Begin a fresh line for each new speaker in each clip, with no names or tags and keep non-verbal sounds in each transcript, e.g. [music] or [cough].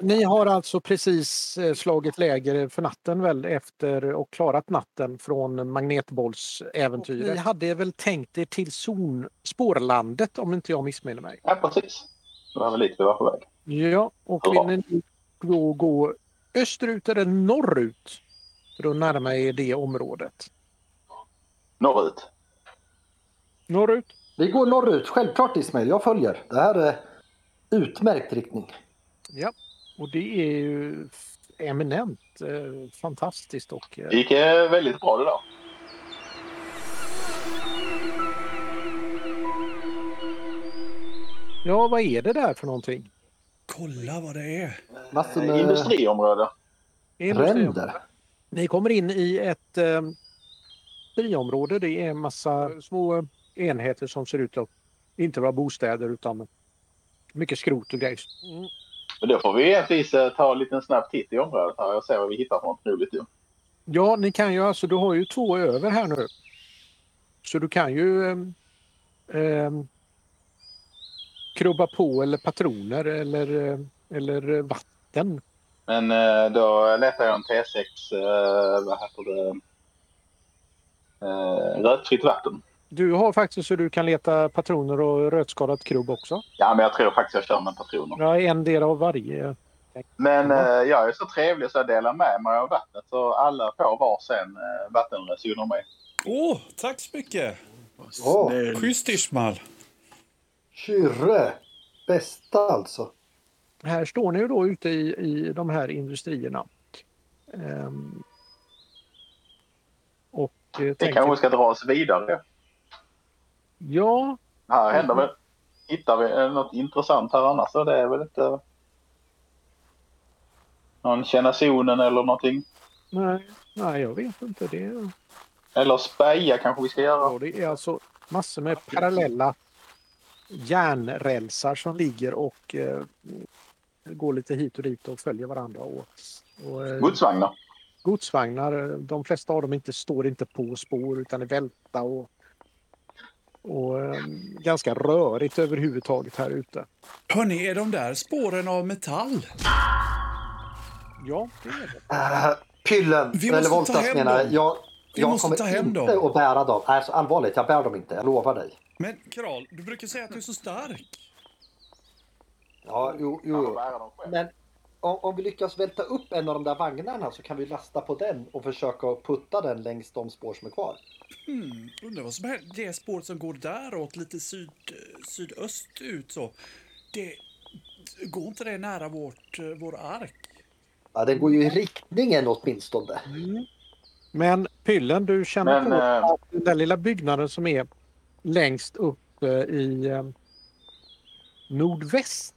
ni har alltså precis eh, slagit läger för natten väl efter och klarat natten från magnetbollsäventyret. Ni hade väl tänkt er till zon, spårlandet om inte jag missminner mig.
Ja, precis. Det var väl dit vi var på väg.
Ja, och
Ja.
vill ni då gå österut eller norrut för att närma er det området?
Norrut.
Norrut?
Vi går norrut, självklart Ismail. Jag följer. Det här är utmärkt riktning.
Ja, och det är ju eminent eh, fantastiskt och eh,
Det gick eh, väldigt bra det där.
ja, vad är det där för någonting?
Kolla vad det är.
Massor
Eh,
med
Industriområde.
Det är något-
ränder.
Ni kommer in i ett eh, friområde. Det är en massa små enheter som ser ut att inte vara bostäder utan mycket skrot och grejer.
Men då får vi egentligen eh, ta en liten snabb titt i området här och se vad vi hittar för något roligt. ju.
Ja, ni kan ju alltså, du har ju två över här nu. Så du kan ju ehm, ehm, krubba på eller patroner eller, eh, eller eh, vatten.
Men eh, då letar jag en T6, eh, vad heter det, eh, rökfritt vatten.
Du har faktiskt så du kan leta patroner och rötskadat krubb också.
Ja, men jag tror faktiskt jag kör med patroner.
Ja, en del av varje.
Men
Ja.
eh, jag är så trevlig så jag delar med mig av vattnet så alla får varsin eh, vattenrös under mig.
Åh, tack så mycket.
Åh,
Schysst Ismail.
Kyrre. Bästa alltså.
Här står ni ju då ute i, i de här industrierna. Ehm, och eh,
Vi
tänker-
kanske ska dra oss vidare.
Ja,
Här händer väl... Hittar vi eh, något intressant här annars så det är väl inte... Någon känna zonen eller någonting.
nej, nej, jag vet inte. Det är...
Eller speja kanske vi ska göra.
Ja, det är alltså massor med parallella järnrälsar som ligger och eh, går lite hit och dit och följer varandra. Och, och, eh,
Godsvagnar.
godsvagnar, eh, de flesta av dem inte, står inte på spår utan är välta och, och eh, ganska rörigt överhuvudtaget här ute.
Hörni, är de där spåren av metall?
Ja, det är det.
Äh, pyllen,
Vi måste
eller
ta
Voltas
hem
menar jag.
dem.
jag.
Vi
Jag
måste
kommer
ta hem
inte
dem.
att bära dem. Alltså, allvarligt, jag bär dem inte. Jag lovar dig.
Men Kral, du brukar säga att du är så stark.
Ja, jo, jo.
Kan man
jo.
bära dem själv?
Men om, om vi lyckas välta upp en av de där vagnarna så kan vi lasta på den och försöka putta den längs de spår som är kvar.
Hmm, undrar vad som händer. Det spåret som går däråt, lite syd, sydöst ut så. Det, går inte det nära vårt, eh, vår ark?
Ja, den går ju i riktningen åtminstone.
Men Pyllen, du känner
Men,
på
eh,
att den där lilla byggnaden som är längst upp eh, i eh, nordväst.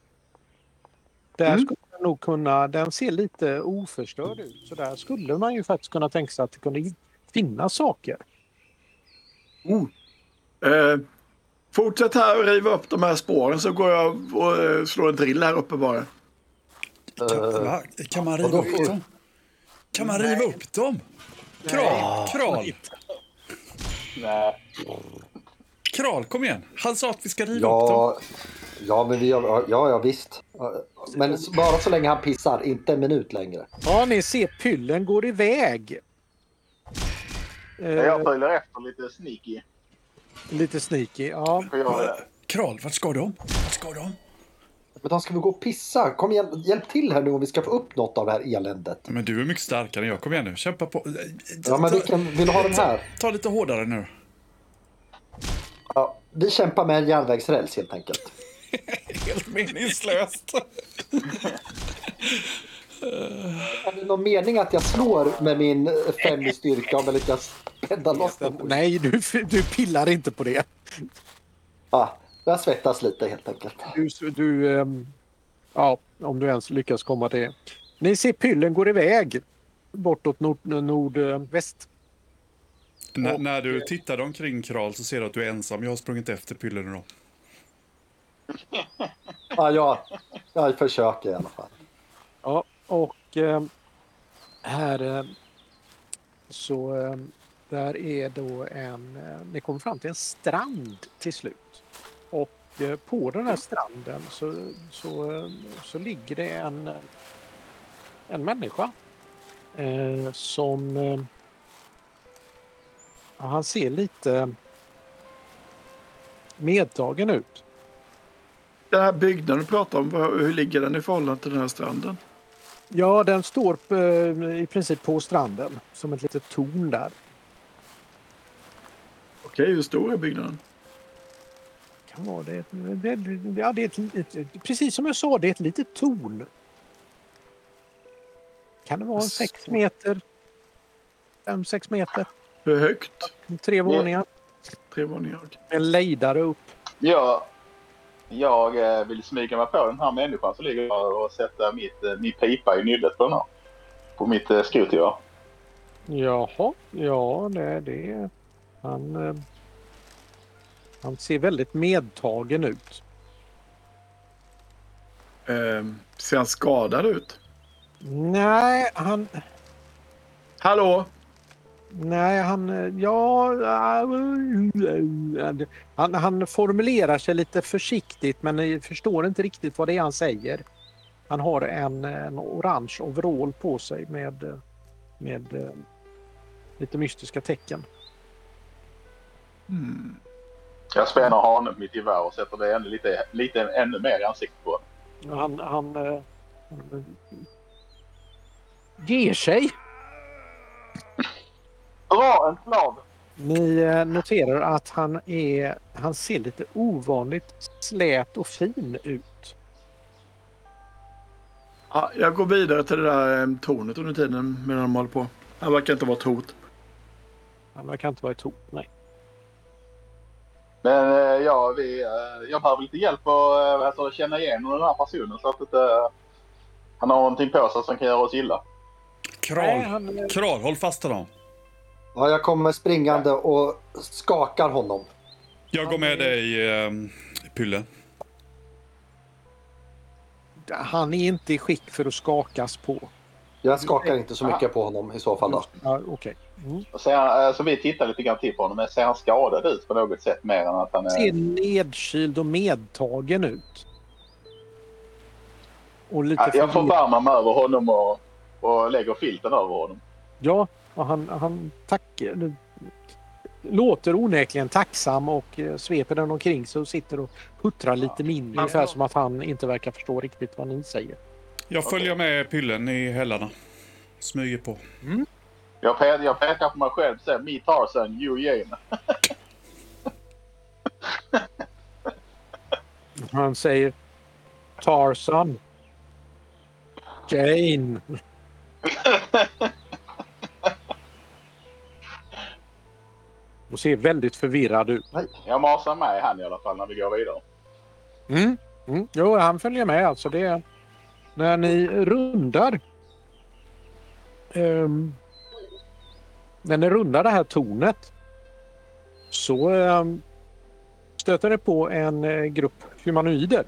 Där
Mm.
skulle man nog kunna, den ser lite oförstörd ut. Så där skulle man ju faktiskt kunna tänka sig att det kunde finnas saker.
Oh. Eh, fortsätt här och riva upp de här spåren så går jag och eh, slår en drill här uppe bara.
Eh,
Kan, va? kan man riva
och då-
upp dem? Kan man riva upp dem? Kral, kral,
Nej.
kral, kom igen. Han sa att vi ska riva upp dem.
Ja, ja, men vi, ja, ja visst. Men s- bara så länge han pissar, inte en minut längre.
Ja, ni ser Pyllen går iväg. Eh,
Jag följer efter lite sneaky.
Lite sneaky. Ja.
Får jag göra det?
Kral, vart ska de? Vart ska de?
Men de ska väl gå och pissa? Kom igen, hjälp till här nu om vi ska få upp något av det här eländet.
Men du är mycket starkare än jag. Kom igen nu, kämpa på.
Ja, men vilken, vill du ha den här?
Ta lite hårdare nu.
Ja, vi kämpar med en järnvägsräls helt enkelt.
Helt meningslöst.
Är det någon mening att jag slår med min fem i styrka om jag lyckas bädda loss den?
Nej, du, du pillar inte på det.
Ja, jag svettas lite helt enkelt.
Du, du, ehm, ja, om du ens lyckas komma till det. Ni ser Pyllen går iväg bortåt nord- eh, nordväst.
N- när du tittar omkring Kral så ser du att du är ensam. Jag har sprungit efter Pylle nu då.
Ja, jag, jag försöker i alla fall.
ja, och ehm, här ehm, så ehm, eh, där är då en... eh, ni kommer fram till en strand till slut. Och eh, på den här stranden så, så, eh, så ligger det en, en människa eh, som... Eh, ja, han ser lite medtagen ut.
Den här byggnaden du pratar om, vad- hur ligger den i förhållande till den här stranden?
Ja, den står eh, i princip på stranden som ett litet torn där.
Okej, hur stor är byggnaden?
Kan vara det. Det, det, ja, det är ett, ett, precis som jag sa, det är ett litet torn. Kan det vara
Så.
sex meter? Fem, sex meter.
Hur högt?
Tre våningar.
Tre våningar. okej.
En lejdare upp.
Jag, jag eh, vill smyga mig på den här människan som ligger här och sätta mitt, eh, min pipa i nyllet på den här. På mitt eh, skotergevär.
Jaha, ja det, det han, eh, han ser väldigt medtagen ut.
Ehm, ser han skadad ut?
Nej, han...
Hallå?
Nej, han... eh, Ja... eh, Han, han formulerar sig lite försiktigt men ni förstår inte riktigt vad det är han säger. Han har en, en orange overall på sig med, eh, med eh, lite mystiska tecken.
Hmm.
Jag spänner hanen på mitt gevär och sätter det ännu, lite, lite ännu mer i ansiktet på den.
Han, han, eh, han ger sig.
Bra, en slav!
Ni eh, noterar att han, är, han ser lite ovanligt slät och fin ut.
Ja, jag går vidare till det där ehm, tornet under tiden medan de håller på. Han verkar inte vara ett hot.
Han verkar inte vara ett hot, nej.
Men eh, ja, vi, eh, jag behöver lite hjälp att eh, alltså, känna igenom den här personen så att inte eh, han har någonting på sig som kan göra oss illa.
nej
Kral,
han, eh,
kral, håll fast honom.
Ja, jag kommer springande och skakar honom.
Jag går med dig, ehm, Pylle.
han är inte i skick för att skakas på.
Jag skakar inte så mycket på honom i så fall. Då.
Ja, Okej. Mm.
Och sen, eh, så vi tittar lite grann till på honom. Men ser han skadad ut på något sätt mer än att han är...
Ser nedkyld och medtagen ut. Och lite
Ja, Jag
förvirrad.
förbarmar mig över honom och, och lägger filten över honom.
Ja, och han, han tack, låter onekligen tacksam och eh, sveper den omkring sig och sitter och huttrar lite mindre. Ungefär som att han inte verkar förstå riktigt vad ni säger.
Jag följer med Pyllen i hällarna. Smyger på.
Jag, pe- jag pekar på mig själv och säger Me Tarzan, you Jane.
Han säger Tarzan. Jane. Och ser väldigt förvirrad ut.
Jag masar med han i alla fall när vi går vidare.
Mm. Mm. Jo, han följer med. Alltså det, när ni rundar... ehm, när ni rundar det här tornet så ehm, stöter det på en eh, grupp humanoider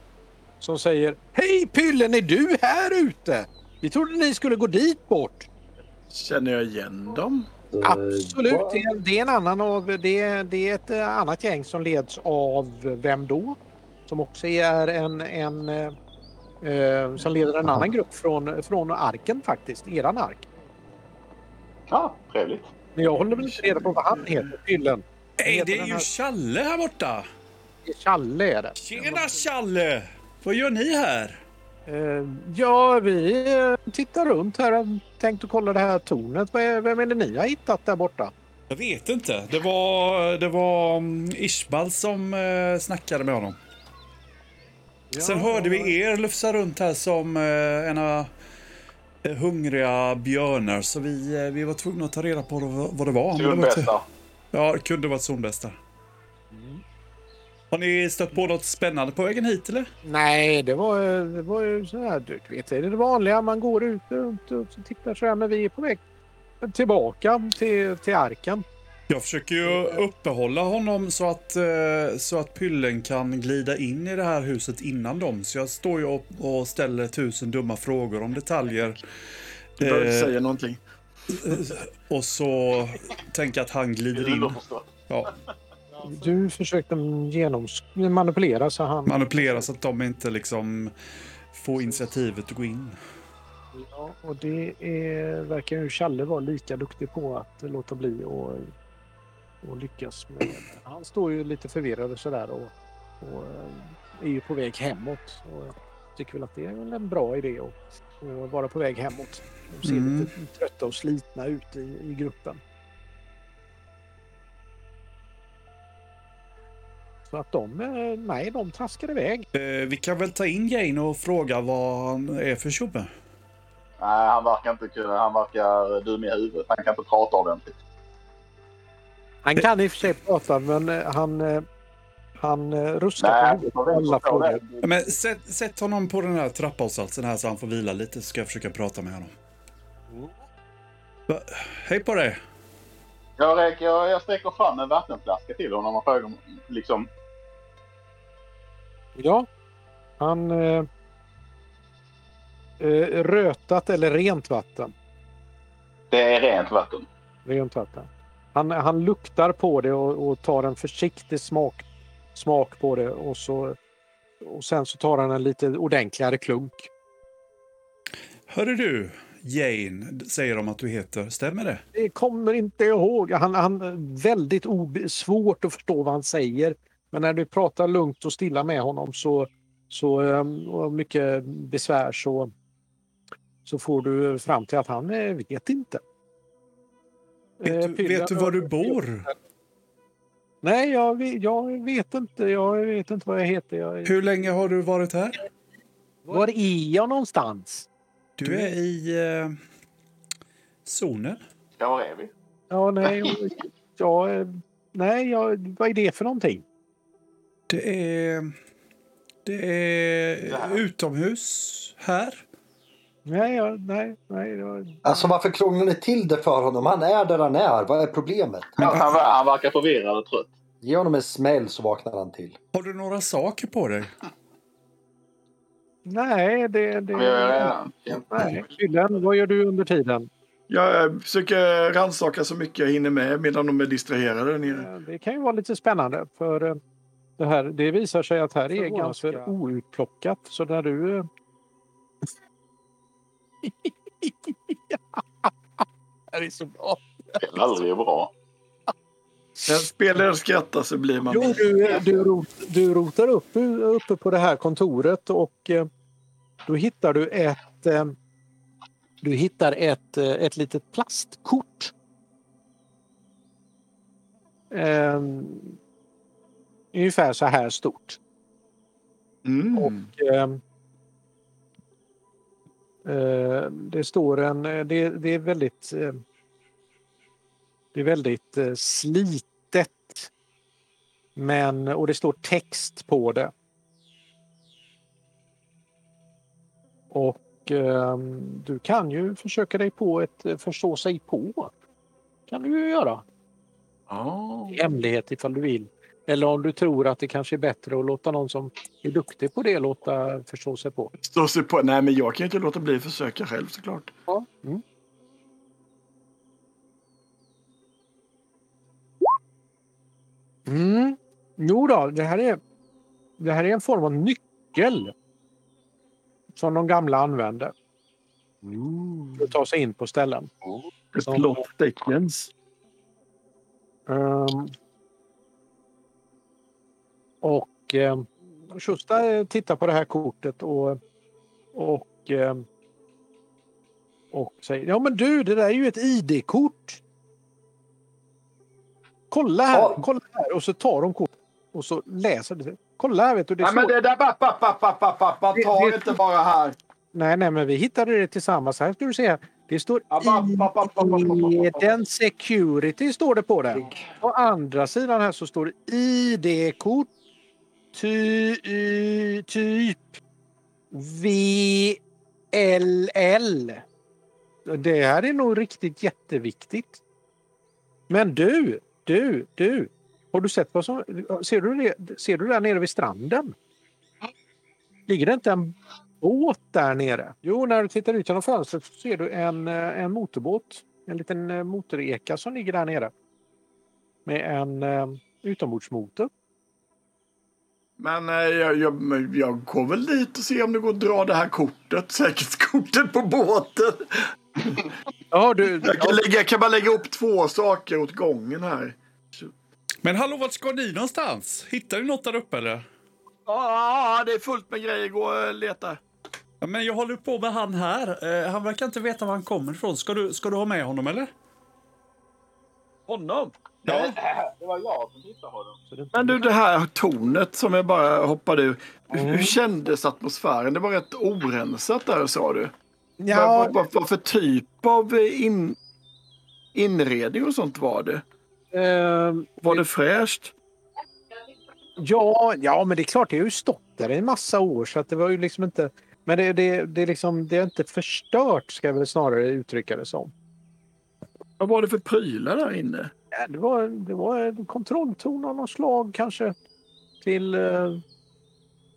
som säger Hej Pyllen, är du här ute? Vi trodde ni skulle gå dit bort.
Känner jag igen dem?
Eh,
Absolut, det är, det är, en annan av, det är, det är ett eh, annat gäng som leds av vem då? Som också är en, en eh, eh, som leder en annan grupp från, från arken faktiskt, eran ark.
Ja, trevligt.
Men jag håller väl inte reda på vad han heter, Pyllen.
Nej, det är
den
ju
här-
Challe här borta!
Det är Challe är det.
Tjena Challe! Vad gör ni här?
Eh, ja, vi eh, tittar runt här och tänkt att kolla det här tornet. Vad är- Vem är det ni har hittat där borta?
Jag vet inte. Det var, det var mm, Ishbal som eh, snackade med honom. Sen hörde vi er lufsa runt här som eh, ena eh, hungriga björnar så vi, eh, vi var tvungna att ta reda på vad vad det var. Men det var inte-
Solbästa.
Ja, det kunde varit zonbästa. Har ni stött på något spännande på vägen hit eller?
Nej, det var, det var ju så här, du vet, det är det vanliga. Man går ut runt och så tittar så här, men vi är på väg tillbaka till, till arken.
Jag försöker ju uppehålla honom så att, eh, så att pyllen kan glida in i det här huset innan dem. Så jag står ju upp och ställer tusen dumma frågor om detaljer.
Du behöver inte
Eh.
säga någonting.
Och så tänker jag att han glider in.
Underförstått.
Ja.
Du försökte genoms- manipulera så han...
Manipulera så att de inte liksom får initiativet att gå in.
Ja, och det är, verkar ju Challe vara lika duktig på att låta bli och, och lyckas med. Han står ju lite förvirrad och sådär och, och eh, är ju på väg hemåt. Och jag tycker väl att det är väl en bra idé att, att vara på väg hemåt. De ser
Mm.
lite trötta och slitna ut i, i gruppen. Så att de, eh, nej, de traskar iväg.
Eh, vi kan väl ta in Jane och fråga vad han är för tjobbe.
Nej, han verkar inte kunna. Han verkar dum i huvudet. Han kan inte prata ordentligt.
Han kan i och för sig prata, men eh, han, eh, han eh, ruskar på
Nej,
huvudet
jag
på
vet inte
alla
vad
frågor.
jag vet.
Ja, Men sätt, sätt honom på den här trapphållsatsen här så han får vila lite så ska jag försöka prata med honom. Va? Hej på dig!
Jag, räcker, jag, jag sträcker fram en vattenflaska till honom och frågar om, liksom,
Ja, han... Eh, eh, rötat eller rent vatten.
det är rent vatten.
Rent vatten. Han, han luktar på det och, och tar en försiktig smak, smak på det och, så, och sen så tar han en lite ordentligare klunk.
Hörru du, Jane, säger de att du heter. Stämmer det?
Det kommer inte ihåg. Han, han väldigt ob- svårt att förstå vad han säger. Men när du pratar lugnt och stilla med honom så, så ehm, och mycket besvär så, så får du fram till att han eh, vet inte. Eh,
Vet du,
Pilla-
vet du var du bor?
Nej, jag, ve- jag vet inte. Jag vet inte vad jag heter. Jag,
Hur länge har du varit här?
var är jag någonstans?
Du är i eh, zonen.
Ja, var är vi?
Ja, nej, jag, jag, eh, nej jag, vad är det för någonting?
Det är... Det är
Det här.
utomhus här.
Nej, jag, nej, nej. Jag,
Alltså varför krånglar ni till det för honom? Han är där han är. Vad är problemet?
Han, han, ver- han verkar förvirrad och trött.
Ge honom en smäll så vaknar han till.
Har du några saker på dig?
nej, det... det
Vi har ju redan känt.
Nej, Kyllen, vad gör du under tiden?
Jag eh, försöker rannsaka så mycket jag hinner med medan de är distraherade där nere.
Eh, Det kan ju vara lite spännande för eh, det här. Det visar sig att här är ganska outplockat. Så när du... eh, [laughs] det här är så bra.
Det är aldrig bra.
När spelaren skrattar så blir man...
Jo, du, eh, du, rot, du rotar upp u- uppe på det här kontoret och eh, då hittar du ett... eh, Du hittar ett, eh, ett litet plastkort. Eh, Ungefär så här stort.
Mm.
Ehm, eh, det står en... eh, Det, det är väldigt... eh, Det är väldigt eh, slitet. Men, och det står text på det. Och ehm, du kan ju försöka dig på ett eh, förstå sig på. kan du ju göra.
Ja.
i Hemlighet ifall du vill. Eller om du tror att det kanske är bättre att låta någon som är duktig på det låta förstå sig på.
Står sig på. Nej, men jag kan ju inte låta bli att försöka själv såklart.
Mm. Jo då, det här, är, det här är en form av nyckel som de gamla använde för att ta sig in på ställen.
Ett blått Dickens.
Ehm. och um, Schusta eh, tittar på det här kortet och, och, ehm, och säger Ja men du, det där är ju ett ID-kort. Kolla här,
Ja.
kolla här. Och så tar de kortet och så läser det. Kolla här vet du. Det
Nej,
står...
men det där... Pappa, pappa, pappa, pappa, ta
Det-
inte bara här.
Nej, nej, men vi hittade det tillsammans. Här ska du se. Det står
Ja, ba, ba, ba, ba, ba, ba, ba, ba.
Eden Security står det på den. På andra sidan här så står det ID-kort ty, y, typ VLL. Det här är nog riktigt jätteviktigt. Men du, du, du. Har du sett vad som... Ser du, det, ser du där nere vid stranden? Ligger det inte en båt där nere? Jo, när du tittar ut genom fönstret så ser du en, eh, en motorbåt. En liten eh, motoreka som ligger där nere. Med en, eh, utombordsmotor.
Men eh, jag, jag, men jag går väl dit och ser om det går att dra det här kortet, [laughs] säkerhetskortet på båten.
Ja, du,
Jag kan, lägga, jag kan bara lägga upp två saker åt gången här.
Men hallå, vart ska ni någonstans? Hittar ni något där uppe eller?
Ja, det är fullt med grejer. Gå och leta.
Ja, men jag håller på med han här. Eh, han verkar inte veta var han kommer ifrån. Ska du, ska du ha med honom eller?
Honom?
Ja.
Det var jag som hittade honom.
Men du, det här tornet som jag bara hoppade ur. Hur- Hur kändes atmosfären? Det var rätt orensat där, sa du. Vad, vad, vad för typ av in, inredning och sånt var det?
ehm,
Var det fräscht?
Ja, ja, men det är klart, det har ju stått där i en massa år så att det var ju liksom inte... Men det, det, det, är liksom, det är inte förstört ska jag väl snarare uttrycka det som.
Vad var det för prylar där inne?
Ja, det, var, det var en kontrolltorn av något slag kanske till eh,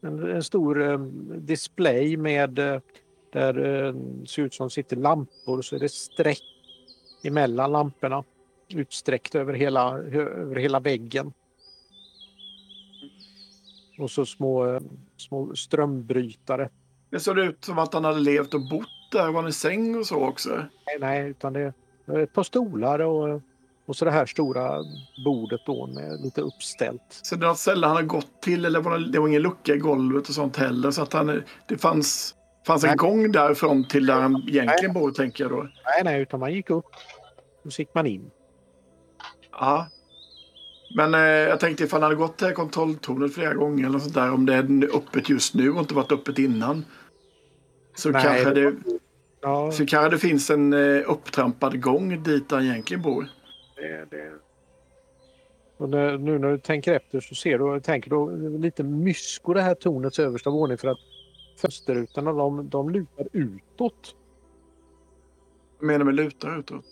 en, en stor eh, display med eh, där eh, ser ut som sitter lampor och så är det streck emellan lamporna utsträckt över hela, hö- över hela väggen. Och så små, eh, små strömbrytare.
Det såg ut som att han hade levt och bott där. Var det en säng och så också?
Nej, nej, utan det är ett par stolar och, och så det här stora bordet då med lite uppställt.
Så det var ett ställe han hade gått till eller var det, det var ingen lucka i golvet och sånt heller. Så att han, det fanns, fanns en
Nej.
gång därifrån till där han egentligen bor, tänker jag då.
Nej, nej, utan man gick upp och så gick man in.
Ja. Men eh, jag tänkte ifall han hade gått till kontrolltornet flera gånger eller något sånt där, om det är öppet just nu och inte varit öppet innan. Så,
Nej,
kanske
det-
det,
Ja,
så kanske det finns en eh, upptrampad gång dit han egentligen bor.
det, det. Och när, nu när du tänker efter så ser du, tänker du lite mysko det här tornets översta våning för att fönsterrutorna de, de lutar utåt.
Vad menar du med lutar utåt?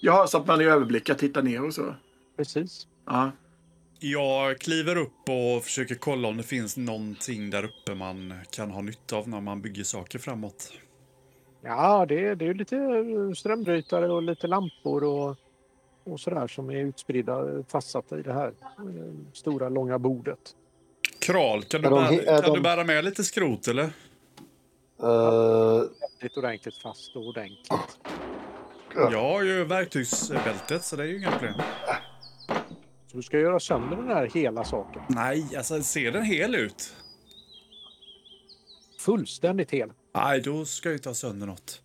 Ja, så att man i överblickar tittar ner och så.
Precis.
Ja.
Jag kliver upp och försöker kolla om det finns någonting där uppe man kan ha nytta av när man bygger saker framåt.
Ja, det, det är ju lite strömbrytare och lite lampor och, och sådär som är utspridda, fastsatta i det här eh, stora långa bordet.
Kral, kan du,
Är de-
bära,
är
kan
de-
du bära med lite skrot eller?
Eh,
Lite ordentligt fast och ordentligt.
Jag har ju verktygsbältet så det är ju inga problem.
Så du ska göra sönder den här hela saken.
Nej, alltså ser den hel ut?
Fullständigt hel.
Nej, då ska jag ju ta sönder något.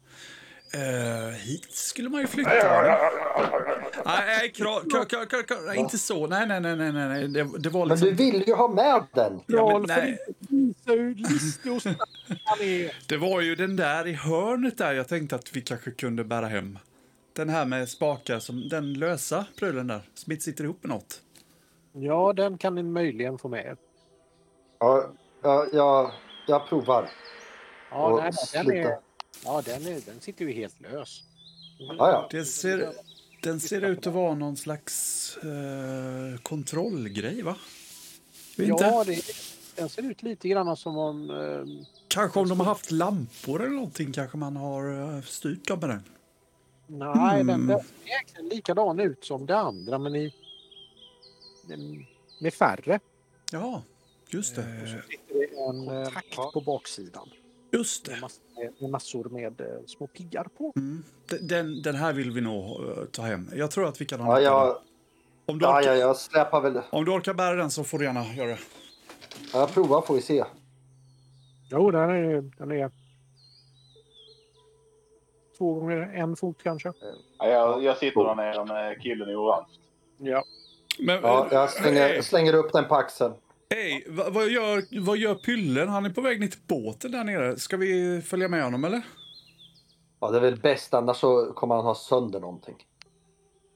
Eh, hit skulle man ju flytta. den. Nej, nej, kral, kral, kral, kral, kral, nej, inte så. Nej, nej, nej, nej, nej, nej. Det, det var
men
liksom...
du vill ju ha med den.
Ja,
Kral,
men,
för
nej,
Visa hur listig och snabb han är.
det var ju den där i hörnet där jag tänkte att vi kanske kunde bära hem. Den här med spakar, som, den lösa prylen där, som inte sitter ihop med något.
Ja, den kan ni möjligen få med er.
Ja, ja, jag, jag provar.
Ja,
Och
nej, nej, den, är,
sluta.
ja den, är, den sitter ju helt lös.
Ja, ja.
Det ser, den ser ut att vara någon slags eh, kontrollgrej, va? Vet
Ja,
inte.
det, den ser ut lite grann som om... Eh,
Kanske om de har haft lampor eller någonting kanske man har eh, styrt dem med den.
nej, den, den ser egentligen likadan ut som det andra, men i... men Med färre.
Ja, just
Och
det.
så sitter det en eh,
kontakt.
takt på baksidan.
Just
Med
det.
mass- med massor med eh, små piggar på.
Mm. D- Den, den här vill vi nog eh, ta hem. Jag tror att vi kan
Ja,
ha nytta av
jag,
den. om, du
ja,
orkar,
ja, jag släpar väl.
om du orkar bära den så får du gärna göra det.
Ja, Jag provar får vi se.
Jo, den är, den är... Två gånger en fot kanske.
Ja, jag, jag sitter där nere med killen i orange.
Ja.
Men,
Ja, jag slänger,
eh,
slänger upp den på axeln.
hej, va- vad, gör, vad gör Pyllen? Han är på väg ner till båten där nere. Ska vi följa med honom eller?
Ja, det är väl bäst, annars så kommer han ha sönder någonting.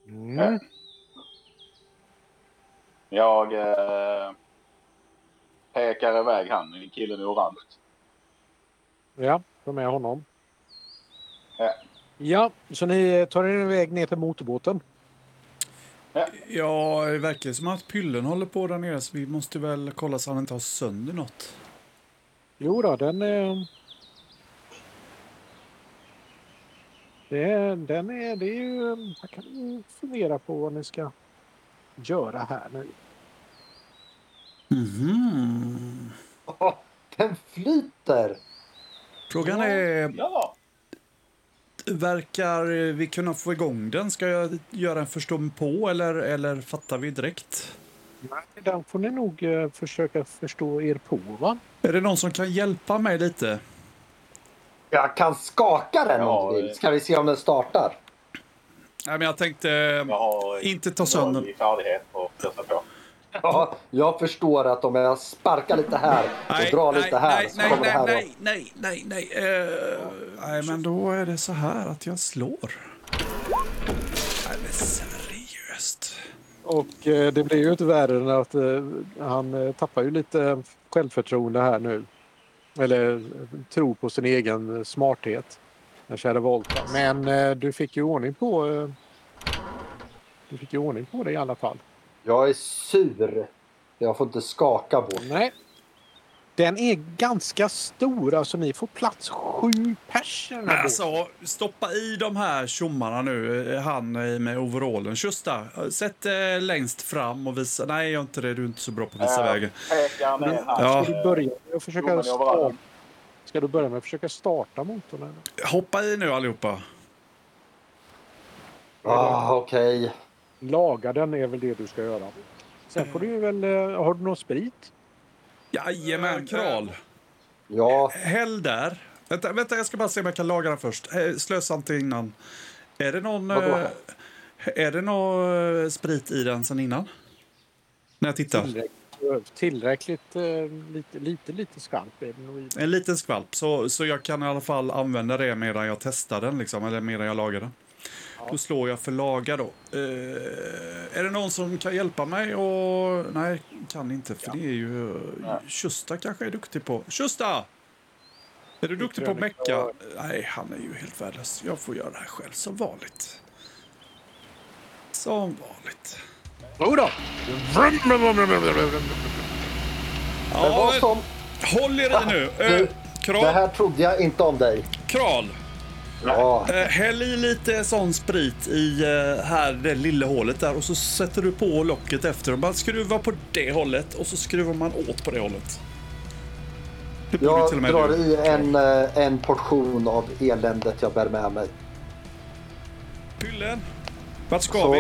Mm.
Jag eh, pekar iväg han, killen i orange.
Ja, ta med honom.
Ja.
Ja, så ni eh, tar er iväg ner till motorbåten.
Ja, det verkar som att Pyllen håller på där nere så vi måste väl kolla så han inte har sönder något.
Jo då, den... eh, Det, är- eh, den är, det är ju... Jag kan ju fundera på vad ni ska göra här nu.
Mhm.
Åh, den flyter!
Frågan är,
Ja,
verkar vi kunna få igång den? Ska jag göra en förstå på eller, eller fattar vi direkt?
Nej, Den får ni nog eh, försöka förstå er på, va?
Är det någon som kan hjälpa mig lite?
Jag kan skaka den om
Ja,
du
det-
vill. Ska vi se om den startar?
Nej, men jag tänkte eh,
jag har
inte ta sönder
i färdighet och pressa på.
Ja, jag förstår att om jag sparkar lite här och drar lite här
nej,
så
nej,
kommer det
nej,
här
nej, nej, nej, nej, eh, nej, men då är det så här att jag slår. Nej, men seriöst.
Och eh, det blir ju inte värre än att eh, han eh, tappar ju lite självförtroende här nu. Eller eh, tro på sin egen smarthet. Den kära Volta. Men eh, du fick ju ordning på... Eh, du fick ju ordning på det i alla fall.
Jag är sur. Jag får inte skaka på den.
Nej. Den är ganska stor, alltså ni får plats sju personer.
Men alltså, stoppa i de här tjommarna nu, eh, han eh, med overallen. Just där, eh, sätt eh, längst fram och visa. Nej, gör inte det. Du är inte så bra på att visa
Eh,
vägen.
Pekar ner här.
Ja.
Ska du börja med att
Jo, men
försöka,
jag var-
sta- Ska du börja med att försöka starta motorn? Eller?
Hoppa i nu allihopa.
Ah, Okej.
Laga den är väl det du ska göra. Sen får du ju väl... eh, Har du någon sprit?
Jajamän, kral.
Ja,
Häll där. Vänta, vänta, jag ska bara se om jag kan laga den först. Eh, Slösa inte innan. Är det någon,
Vadå?
eh, är det någon eh, sprit i den sen innan? När jag tittar.
Tillräckligt, tillräckligt eh, lite, lite, lite skarp är den nog i.
En liten skvalp, så, så jag kan i alla fall använda det medan jag testar den, liksom, eller medan jag lagar den. Då slår jag för laga då. Eh, är det någon som kan hjälpa mig? Och, nej, kan inte, för det är ju...
Nej.
Shusta kanske är duktig på. Shusta! Är du duktig på att
tror
mecka? Nej, han är ju helt värdelös. Jag får göra det här själv, som vanligt. Som vanligt.
Jodå!
men vad
Ja,
som...
håll er i nu! Eh,
Du, Det
kral,
här trodde jag inte om dig.
kral!
Ja,
Eh, Häll i lite sån sprit i eh, här det lilla hålet där och så sätter du på locket efter och man skruvar på det hållet och så skruvar man åt på det hållet. Det borde till
jag
och med
drar
du.
i en, eh, en portion av eländet jag bär med mig.
Pyllen, vart ska
Så.
vi?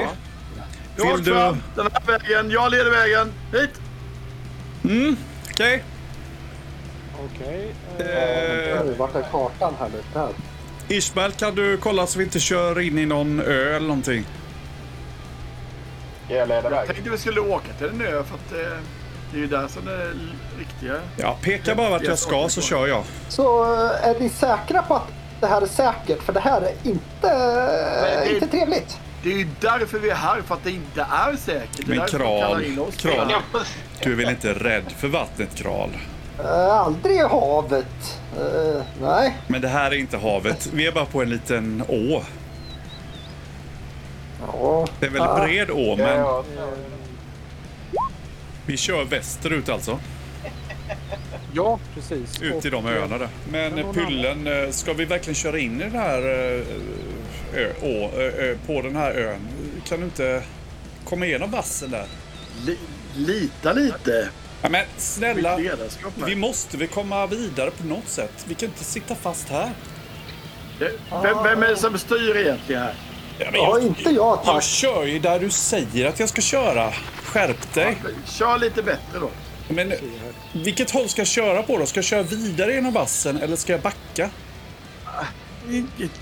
Vill
Rakt
du...
fram,
Okej,
den här vägen. Jag leder vägen. Hit!
Okej.
Eh,
Oj, Vart är kartan här nu? Där.
Ismail, kan du kolla så vi inte kör in i någon ö eller någonting?
Ska jag leda
Jag
vägen?
tänkte vi skulle åka till den ö för att eh, det är ju där som det är riktiga...
Ja, peka bara vart jag ska så kör jag.
Så eh, är ni säkra på att det här är säkert? För det här är inte,
det-
inte trevligt.
Det är ju därför vi är här, för att det inte är säkert. Det är
Men
därför de
kral,
kallar in oss.
kral. Du är väl inte rädd för vattnet, Kral?
Eh, Aldrig i havet. Eh, Nej.
Men det här är inte havet. Vi är bara på en liten å.
Ja.
Det är väl en bred å,
Ja,
men...
jag-
Vi kör västerut alltså,
Ja, precis.
ut i de
Och, eh,
öarna där. Men
Men någon
Pyllen, eh, ska vi verkligen köra in i den här eh, ö, å, ö, ö, på den här ön? Kan du inte komma igenom vassen där?
Li- Lita lite.
Ja, men snälla,
Mitt ledarskap här.
vi måste vi komma vidare på något sätt. Vi kan inte sitta fast här.
Det- Vem, vem är det som styr egentligen här?
Ja, men
Ja,
jag,
inte jag
jag
tack.
kör ju där du säger att jag ska köra. Skärp dig.
Kör lite bättre då.
Men vilket håll ska jag köra på då? Ska jag köra vidare genom vassen eller ska jag backa?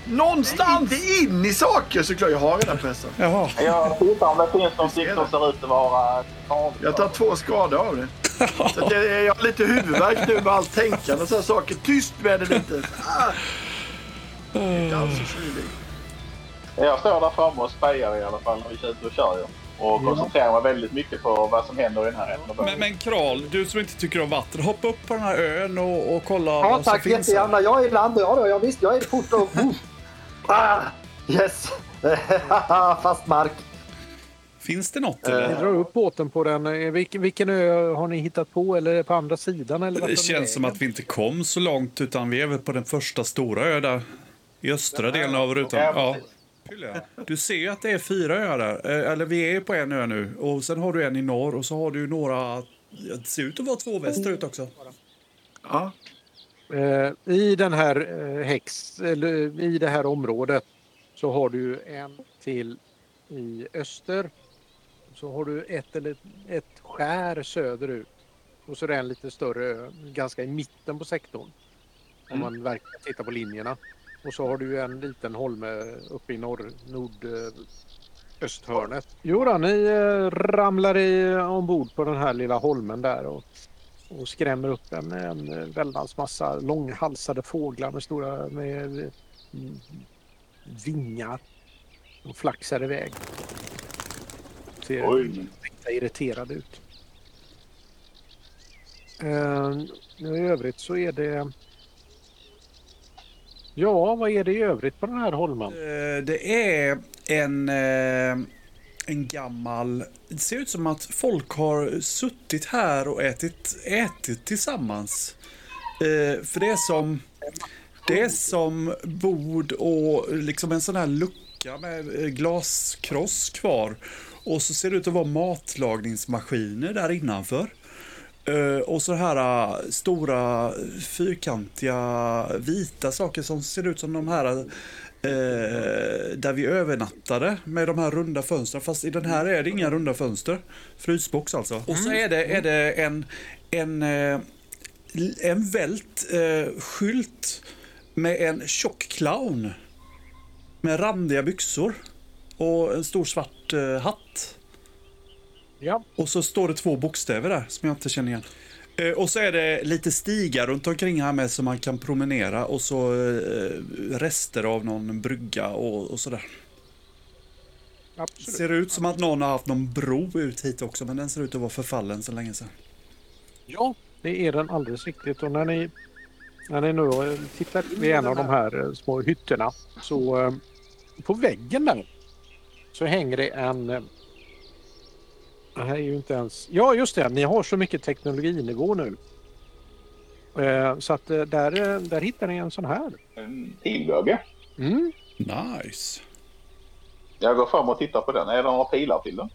Någonstans! Inte in i saker såklart. Jag har redan pressen.
Jaha.
Jag tittar om det finns någonting som ser ut att vara farligt.
Jag tar två skador
[laughs]
av det. Så att jag, jag har lite huvudvärk nu med allt tänkande och sådana saker. Tyst med det lite. Ah.
Eh.
Inte alls så kylig.
Jag står där framme och spejar i alla fall när vi kör ut och kör. ju. Och koncentrerar mig väldigt mycket på vad som händer i den här änden.
Mm. Men, men Kral, du som inte tycker om vatten, hoppa upp på den här ön och, och kolla
Ja
vad som
tack
finns här.
jättegärna. Jag är i land. Ja, då, ja visst, jag är fort och... [laughs] ah, yes. [laughs] Fast mark.
Finns det
Eh,
något
eh, Ni
eller?
drar upp båten på den. Eh, Vilken, vilken ö har ni hittat på? Eller är det på andra sidan? Eller vart
Det
är
känns som
vägen?
att vi inte kom så långt utan vi är väl på den första stora ö där. I östra delen av rutan.
Ja,
Ja.
precis.
Pille, Du ser ju att det är fyra öar där. Eh, Eller vi är på en ö nu. Och sen har du en i norr och så har du några Det ser ut att vara två västerut också.
Ja.
Eh, I den här eh, häx, eller i det här området så har du en till i öster. Så har du ett eller ett skär söderut och så är det en lite större ö ganska i mitten på sektorn. Om man verkligen tittar på linjerna. Och så har du en liten holme uppe i norr, nord, eh, östhörnet. Jo då, ni eh, ramlar i, ombord på den här lilla holmen där och, och skrämmer upp en, en eh, väldans massa långhalsade fåglar med stora med, eh, mm, vingar. De flaxar iväg. Ser
Oj.
äkta irriterad ut. Eh, nu I övrigt så är det... Ja, vad är det i övrigt på den här holmen?
Eh, Det är en, eh, en gammal... Det ser ut som att folk har suttit här och ätit, ätit tillsammans. Eh, För det är som... Det är som bord och liksom en sån här lucka med eh, glaskross kvar. Och så ser det ut att vara matlagningsmaskiner där innanför. Eh, Och så här eh, stora fyrkantiga vita saker som ser ut som de här eh, där vi övernattade med de här runda fönstren. Fast i den här är det inga runda fönster. Frysbox alltså. Och så är det, är det en, en, eh, en vält eh, skylt med en tjock clown. Med randiga byxor. Och en stor svart eh, hatt.
Ja,
Och så står det två bokstäver där som jag inte känner igen. Eh, och så är det lite stigar runt omkring här med som man kan promenera och så eh, rester av någon brygga och, och sådär.
absolut.
Ser ut som att någon har haft någon bro ut hit också men den ser ut att vara förfallen så länge sedan.
Ja, det är den alldeles riktigt. Och när ni, när ni nu eh, tittar vid en av de här eh, små hytterna så eh, på väggen där så hänger det en... eh, Det här är ju inte ens... Ja, just det. Ni har så mycket teknologinivå nu. Eh, Så att eh, där, eh, där hittar ni en sån här.
En pilbåge.
Mm.
Nice!
Jag går fram och tittar på den. Är det några pilar till den?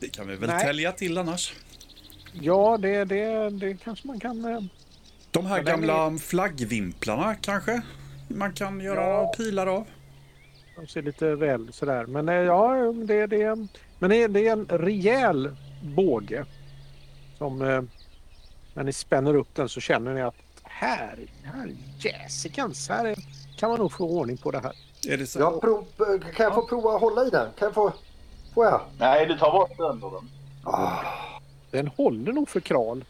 Det kan vi väl
Nej.
tälja till annars.
Ja, det, det, det kanske man kan... eh,
De här
Men den
gamla flaggvimplarna kanske? Man kan göra
Ja.
pilar av.
De ser lite väl sådär. Men eh, ja, det, det, men det, det är en rejäl båge. Som, eh, när ni spänner upp den så känner ni att här, här är jäsikens. Här är, kan man nog få ordning på det här.
Är det så?
Jag prov, kan jag få prova att hålla i den? Kan jag få? Får jag? Ah,
Nej, du tar bort sönder den.
Den håller nog för kral.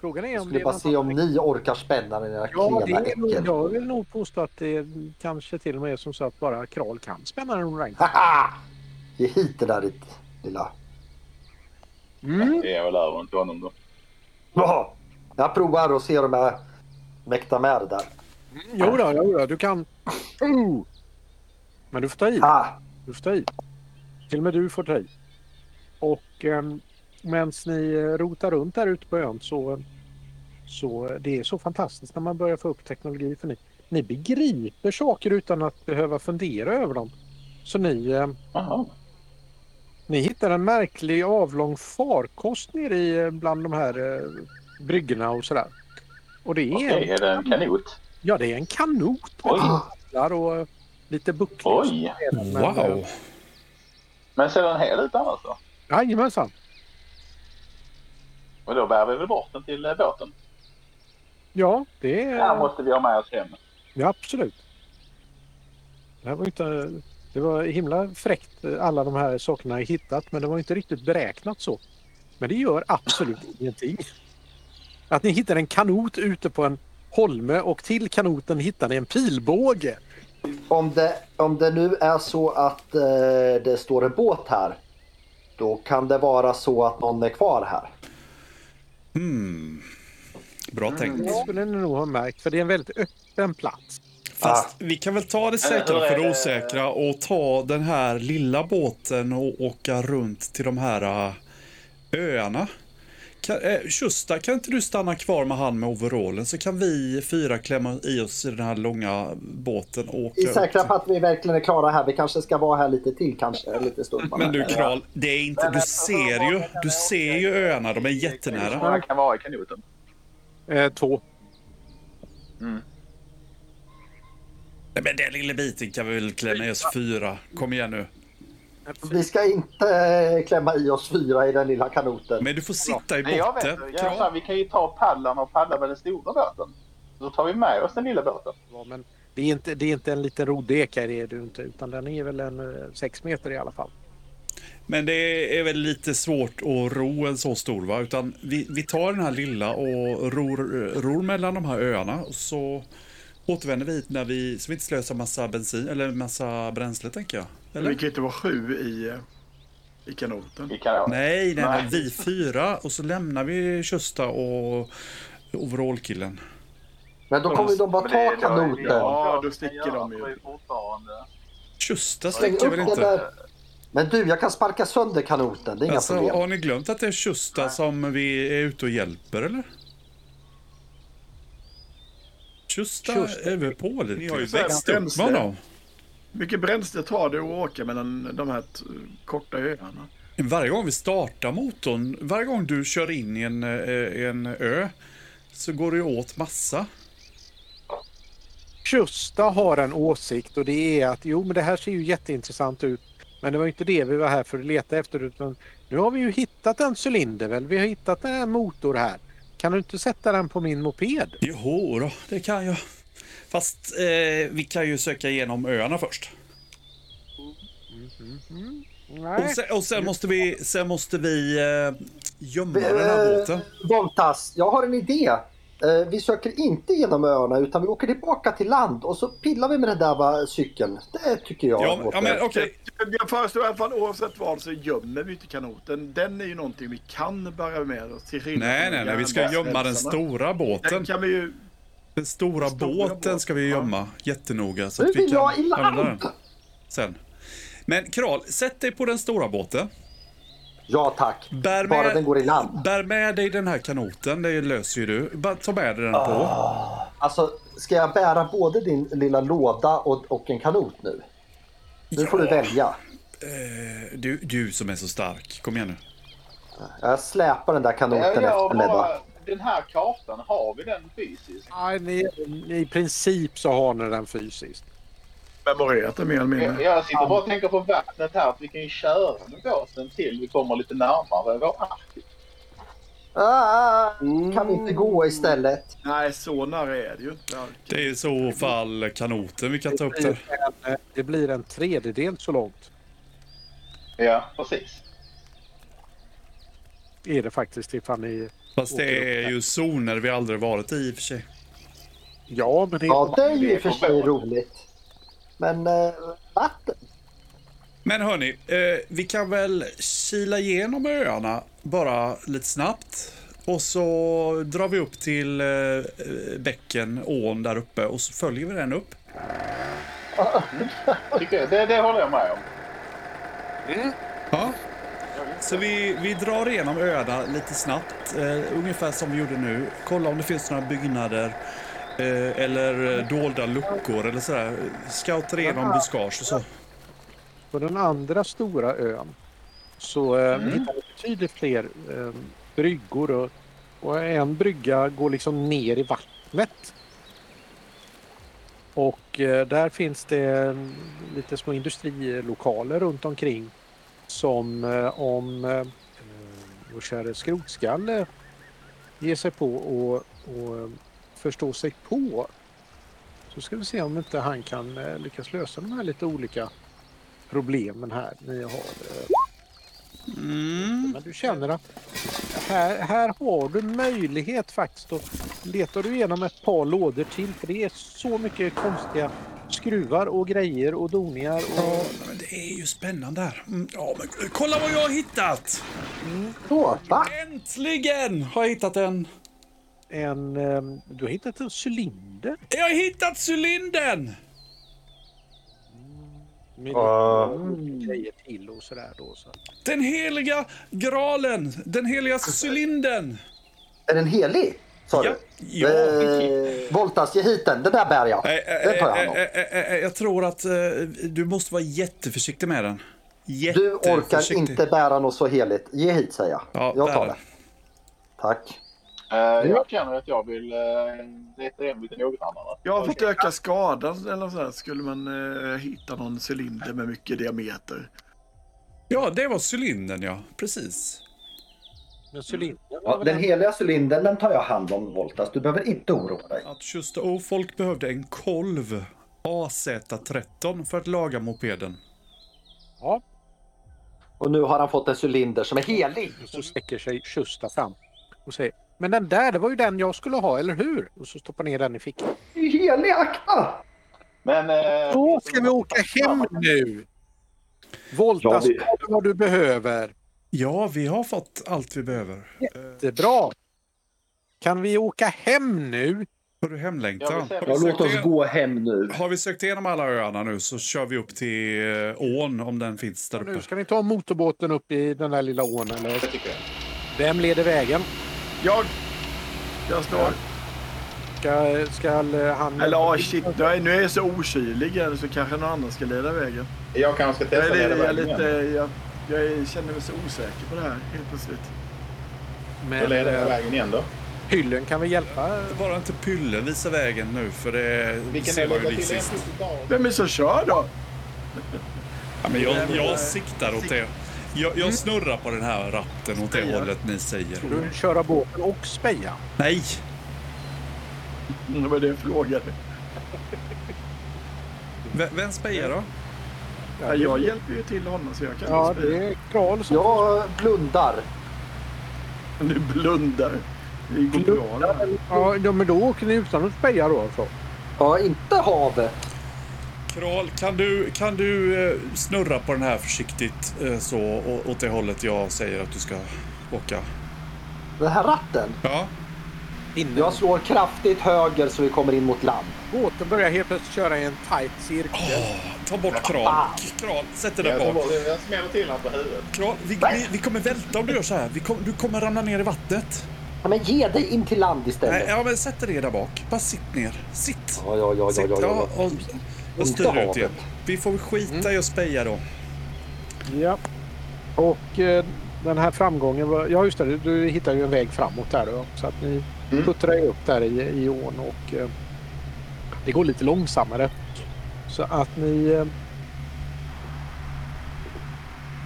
Frågan är
Jag
om
skulle bara se om ni orkar spänna den i era
Ja, det
klena
är, nog-
äckel.
jag vill nog påstå att det kanske till och med är som så att bara kral kan spänna en rank.
Haha! [laughs] Ge hit det där ditt lilla...
Mm.
Det är väl över till honom då.
Jaha. Jag provar och ser om jag mäktar med det där.
Jo då, jo då, du kan... Oh! Men du får ta i.
Ah,
Du får ta i. Till och med du får ta i. Och eh, medan ni eh, rotar runt där ute på ön så, så det är så fantastiskt när man börjar få upp teknologi för ni, ni begriper saker utan att behöva fundera över dem. Så ni, eh,
Jaha.
ni hittar en märklig avlång farkost nere i, eh, bland de här eh, bryggorna och sådär. Och det är,
Okej, är det en kanot?
ja, det är en kanot
Oj,
där och eh, lite bucklig. och så
oj.
är den, men, eh,
Wow!
Men ser den hel ut annars då?
Jajamensan.
Och då bär vi väl bort den till eh, båten.
Ja, det är...
Den här måste vi ha med oss hem.
Ja, absolut. Det, här var inte, det var himla fräckt alla de här sakerna jag hittat men det var inte riktigt beräknat så. Men det gör absolut [laughs] ingenting. Att ni hittar en kanot ute på en holme och till kanoten hittar ni en pilbåge.
om, det, om det nu är så att eh, det står en båt här. Då kan det vara så att någon är kvar här.
Hmm. Bra tänkt.
Det skulle ni nog ha märkt för det är en väldigt öppen plats.
Fast
Ah.
vi kan väl ta det säkra för det osäkra och ta den här lilla båten och åka runt till de här äh, eh, öarna. Kan, eh, Shusta, kan inte du stanna kvar med han med overallen så kan vi fyra klämma i oss i den här långa båten och åka
Vi är
upp.
säkra på att vi verkligen är klara här. Vi kanske ska vara här lite till kanske. en liten stund bara.
Men du Kral, det är inte, du ser ju, du ser ju öarna, de är
Hur
jättenära.
många kan vara i kanoten?
Eh, två.
Nej men den lilla biten kan vi väl klämma i oss fyra. Kom igen nu.
Vi ska inte eh, klämma i oss fyra i den lilla kanoten.
Men du får sitta i
Nej, jag vet
botten.
inte. Jag sa,
Kral.
vi kan ju ta paddlarna och paddla med den stora båten. Då tar vi med oss den lilla båten.
Ja, men det är, inte, det är inte en liten rodek här, är det ju inte, utan den är väl en eh, sex meter i alla fall.
Men det är väl lite svårt att ro en så stor va? Utan vi, vi tar den här lilla och ror, ror mellan de här öarna och så återvänder vi hit när vi, så vi inte slösar massa bensin eller massa bränsle tänker jag. Eller?
Vi kan ju inte vara sju i, eh, i kanoten.
I kanoten.
Nej, nej, nej,
Nej.
vi fyra och så lämnar vi Kösta och overallkillen.
Men då kommer de bara
Men
ta
det- det har ju-
kanoten.
Ja, då
kan
sticker
göra,
de
för
ju.
det är fortfarande-
Kösta
Släng
sticker
upp
väl
den
inte?
där. Men du, jag kan sparka sönder kanoten. Det är inga
Alltså,
problem.
har ni glömt att det är Kösta som vi är ute och hjälper eller? Kösta
Tjusta.
är väl på lite? Ni har ju
växt upp med honom. Mycket bränsle tar det att åka mellan de här t- korta öarna?
Varje gång vi startar motorn, varje gång du kör in i en, eh, en ö, så går det ju åt massa.
Shusta har en åsikt och det är att jo, men det här ser ju jätteintressant ut. Men det var ju inte det vi var här för att leta efter utan nu har vi ju hittat en cylinder väl. Vi har hittat en motor här. Kan du inte sätta den på min moped?
Jo då, det kan jag. Fast eh, vi kan ju söka igenom öarna först. Och
Nej.
sen, och sen måste vi, sen måste vi eh, gömma den här båten.
Eh, Voltas, jag har en idé. Eh, Vi söker inte genom öarna utan vi åker tillbaka till land och så pillar vi med den där va, cykeln. Det tycker jag.
Ja, ja, men okej.
Jag- Jag föreslår i alla fall oavsett vad så gömmer vi inte kanoten. Den är ju någonting vi kan bära med oss till skillnad
Nej,
från
nej, nej, vi ska
järnvägsrälsarna.
gömma den stora båten.
Den kan vi ju...
Den stora båten ska vi gömma jättenoga så
Nu
att vi
vill
kan
jag i
använda den
land!
sen. Men Kral, sätt dig på den stora båten.
Ja tack.
Bär
Bara
med-
den går i land.
Bär med dig den här kanoten, det löser ju du. Bara ta med dig den på.
Alltså, ska jag bära både din lilla låda och, och en kanot nu? Nu får du välja.
Eh, Du, du som är så stark, kom igen nu.
Jag släpar den där
Ja,
kanoten
ja,
efter mig bara.
bara, den här kartan, har vi den fysiskt?
Nej, ni- I princip så har ni den fysiskt.
Memorerat den mer eller
Jag,
mindre.
jag sitter bara och tänker på vattnet här, att vi kan ju köra med båten till vi kommer lite närmare vår Arktis.
Ah, kan vi inte gå
Mm.
istället?
Nej, så nära är det ju inte.
Det är i så fall kanoten vi kan ta upp
Det
där.
blir en, eh, det blir en tredjedel så långt.
Ja, precis.
Är det faktiskt ifall ni...
Fast det är ju zoner vi aldrig varit i i och för sig.
Ja, men det
Ja, det är
det
ju i
är
och för
på
sig
båt.
roligt. Men eh, vatten?
Men hörni, eh, vi kan väl kila igenom öarna bara lite snabbt. Och så drar vi upp till eh, bäcken, ån där uppe och så följer vi den upp.
Tycker jag, det, det håller jag med om.
Ja. Så vi, vi drar igenom öarna lite snabbt, eh, ungefär som vi gjorde nu. Kolla om det finns några byggnader eh, eller eh, dolda luckor eller sådär. Scoutar igenom buskage och så.
På den andra stora ön så eh, hittar vi betydligt fler eh, bryggor och, och en brygga går liksom ner i vattnet. Och eh, där finns det mm, lite små industrilokaler runt omkring som eh, om eh, vår käre skrotskalle ger sig på och, och eh, förstår sig på så ska vi se om inte han kan eh, lyckas lösa de här lite olika problemen här ni har. eh,
Mm.
Men du känner att här, här har du möjlighet faktiskt att letar du igenom ett par lådor till för det är så mycket konstiga skruvar och grejer och doningar och
Men det är ju spännande här. Mm, ja, men kolla vad jag har hittat!
Då, va?
Äntligen har jag hittat en.
en... eh, Du har hittat en cylinder.
Jag har hittat cylindern!
Minimum grejer till och sådär då. Så.
Den heliga graalen, den heliga cylindern.
Är den helig? Sa
Ja,
du?
ja.
Eh, Voltas, ge hit den. Den där bär jag.
Eh, eh,
Den tar jag hand om.
eh, eh, eh, eh, Jag tror att eh, du måste vara jätteförsiktig med den.
Du orkar
eh, Jätteförsiktig.
inte bära något så heligt. Ge hit säger jag.
Ja,
jag
bär
tar
den.
det. Tack.
Eh, jag känner att jag vill eh, leta igen lite något annat.
Jag har fått öka skadan eller så här. Skulle man eh, hitta någon cylinder med mycket diameter.
Ja, det var cylindern ja. Precis.
Men cylindern
Mm. Ja,
var
den
väl
heliga cylindern den tar jag hand om Voltas. Du behöver inte oroa dig.
Att just oh, folk behövde en kolv AZ13 för att laga mopeden.
ja,
Och nu har han fått en cylinder som är helig.
och så sträcker sig Shusta fram och säger Men den där, det var ju den jag skulle ha, eller hur? Och så stoppar ner den i fickan.
Det är ju helig, akta!
Men... eh,
Då ska vi åka hem nu!
Ja,
Voltas,
vi-
ta vad du behöver.
Ja, vi har fått allt vi behöver.
Det är bra. Kan vi åka hem nu?
Har du hemlängtan?
Jag vill säga-
Har vi
Ja,
Ja, låt
sökt
oss
igen-
gå hem nu.
Har vi sökt igenom alla öarna nu så kör vi upp till eh, ån om den finns där uppe.
Nu ska vi ta motorbåten upp i den där lilla ån. Eller?
tycker jag.
Vem leder vägen?
Jag! Jag står...
Ska, ska eh, han...
Eller ah shit, nu är nu är jag så okylig här, så kanske någon annan ska leda vägen.
Jag kanske ska
Jag,
testa
är,
leda
jag, är
vägen
lite,
igen.
jag, jag känner mig så osäker på det här helt plötsligt.
Jag
Men,
leder jag
eh,
vägen igen då.
hyllen kan vi hjälpa?
Bara inte Pylle visar vägen nu för det
Vilken
ser
del
man
lägger
ju
till
sist.
en
Vem är det som kör då?
Ja, men jag, jag siktar åt det. Jag, jag snurrar på den här ratten åt det
Spejar.
hållet ni säger.
Du vill köra båten och speja?
Nej!
Mm, Det var det jag frågade.
V- vem spejar då?
Ja, jag hjälper ju till honom så jag kan
Ja,
inte spela.
det är Kral som...
Jag blundar.
Du blundar. Det går bra det här.
Ja, ja, men då åker ni utan att speja då alltså?
Ja, inte havet.
Kral, kan du, kan du eh, snurra på den här försiktigt eh, så å- åt det hållet jag säger att du ska åka?
Den här ratten.
Ja.
Inne.
Jag slår kraftigt höger så vi kommer in mot land.
Båten börjar helt plötsligt köra i en tight cirkel.
Ta bort kral. Kral, sätt dig där bak.
Jag smäller till honom på huvudet.
Kral, vi, vi, vi kommer välta om du gör så här. Vi kom, du kommer ramla ner i vattnet.
Ja, men ge dig in till land
Nej,
istället.
ja, men sätt dig där bak. Bara sitt ner. Sitt!
Ja, ja, ja, ja,
Sitt,
ja, ja.
ja, och, och
Inte
styr
havet. Mm.
ut igen. Vi får väl skita i att speja då.
Ja. Och eh, den här framgången var... Ja, just det. Du, du hittar ju en väg framåt där då. Så att ni
Mm.
puttrar ju upp där i, i ån och eh, det går lite långsammare. Så att ni... Eh,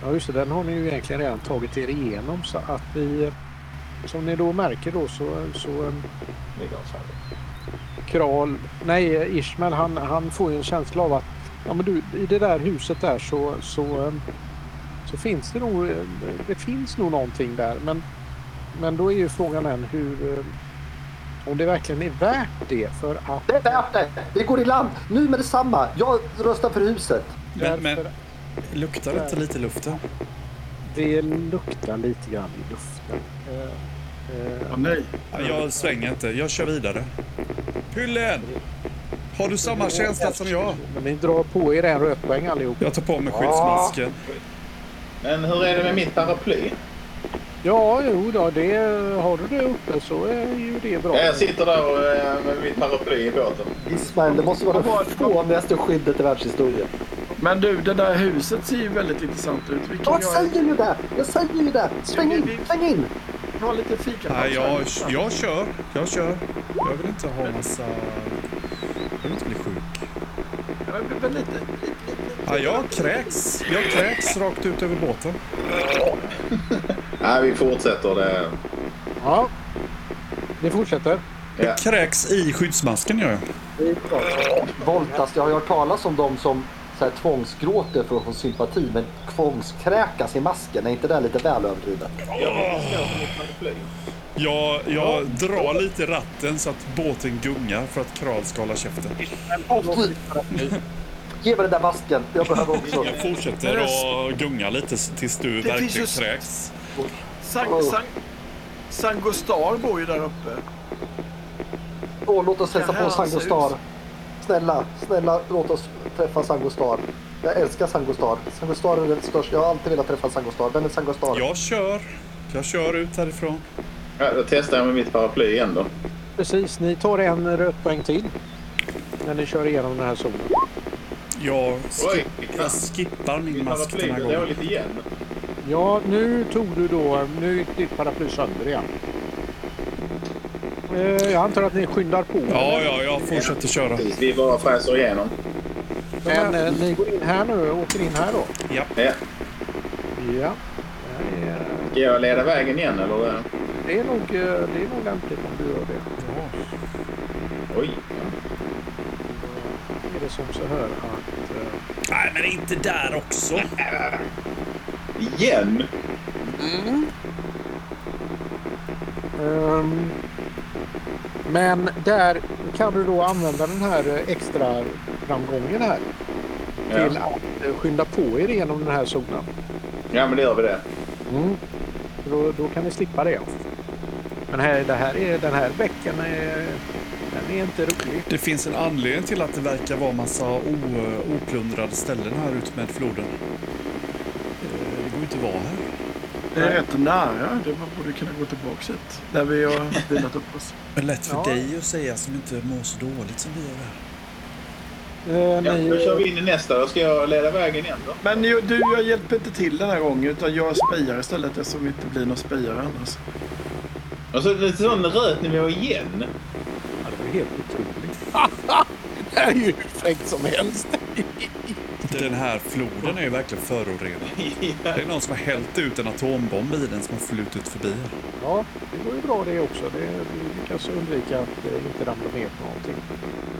ja, just det. Den har ni ju egentligen redan tagit er igenom så att ni... Eh, som ni då märker då så... så eh, Kral, nej Ismail han, han får ju en känsla av att ja, men du, i det där huset där så, så, eh, så finns det nog, eh, det finns nog någonting där. Men, men då är ju frågan än hur, eh, om det verkligen är värt det för att
Det är värt det. Vi går i land nu med detsamma. Jag röstar för huset.
Men, men
därför
luktar det inte lite i luften?
det luktar lite grann i luften. Eh, eh,
Åh, nej.
Ja, Jag svänger inte. Jag kör vidare. Pyllen! Har du samma känsla som jag?
Men ni drar på er en rötpoäng allihop.
Jag tar på mig skyddsmasken.
Men hur är det med mitt paraply?
Ja, jo då, det, har du det uppe så är ju det bra.
Ja, jag sitter där och, eh, med mitt paraply i båten.
Ismail, det måste vara det fånigaste skyddet i världshistorien.
Men du, det där huset ser ju väldigt intressant ut. Vi kan
Jag
ju ha-
säger ju det! Jag säger ju det! Sväng in! Sväng in!
ha lite fika.
Nej, jag, jag kör. Jag kör. Jag vill inte ha massa... Jag vill inte bli sjuk.
Jag blir väl lite...
Ja, jag kräks. Jag kräks rakt ut över båten.
Nej, vi fortsätter det.
Ja, ni fortsätter.
Ja.
Kräks i skyddsmasken gör jag.
Voltas, jag har ju hört talas om dem som så här, tvångsgråter för att få sympati men tvångskräkas i masken. Är inte det lite väl överdrivet?
Jag, jag drar lite i ratten så att båten gungar för att Kral ska hålla käften.
Ge mig den där masken, jag behöver också.
Jag fortsätter att gunga lite tills du
Det finns
verkligen
ju-
kräks.
San, San, San Gostar bor ju där uppe.
Åh, låt oss hälsa
Det här
på Sangostar.
ser
Snälla, snälla låt oss träffa Sangostar. Jag älskar Sangostar. Sangostar är den största. Jag har alltid velat träffa Sangostar. Vem är Sangostar?
Jag kör. Jag kör ut härifrån.
Ja, då testar jag med mitt paraply igen då.
Precis, ni tar en rötpoäng till när ni kör igenom den här zonen.
Jag, skip,
Oj!
jag skippar min
Mitt
mask
paraply
den här
blev
gången.
dåligt igen.
Ja, nu tog du då... Nu gick ditt paraply sönder igen. Eh, Jag antar att ni skyndar på.
Ja, ja, jag fortsätter köra.
Precis, vi bara fräser igenom.
Men eh, ni går in här nu och åker in här då.
Ja.
Ja.
Ja. Det är-
Ska jag leda vägen igen eller?
Det är nog, eh, det är nog lämpligt om du gör det.
Oj!
Är det som så här att... eh,
Nej, men inte där också.
Igen?
Ehm, men där kan du då använda den här eh, extra framgången här till
Ja.
att eh, skynda på er genom den här zonen.
ja, men det gör vi det.
Mm. Då, då kan ni slippa det. Men här, det här är, den här veckan är, den är inte rolig.
Det finns en anledning till att det verkar vara massa o, oplundrade ställen här ute med floden. Eh, Det går ju inte att vara här.
Det är rätt nära. Det var- borde kunna gå tillbaka hit. Där vi har vilat upp oss.
Men lätt för
Ja.
dig att säga som inte mår så dåligt som vi gör här.
Eh,
Ja,
ni,
då kör vi in i nästa. Då ska jag leda vägen igen då.
Men ju, du, jag hjälper inte till den här gången. Utan jag spejar istället eftersom det inte blir någon spejare annars.
Och så lite sån röt nivå igen.
Ja, det var helt otroligt. det här är ju hur fräckt som helst.
Den här floden är ju verkligen förorenad.
Ja.
Det är någon som har hällt ut en atombomb i den som har flutit förbi här.
Ja, det går ju bra det också. Det, vi lyckas undvika att eh, inte ramla ner på någonting.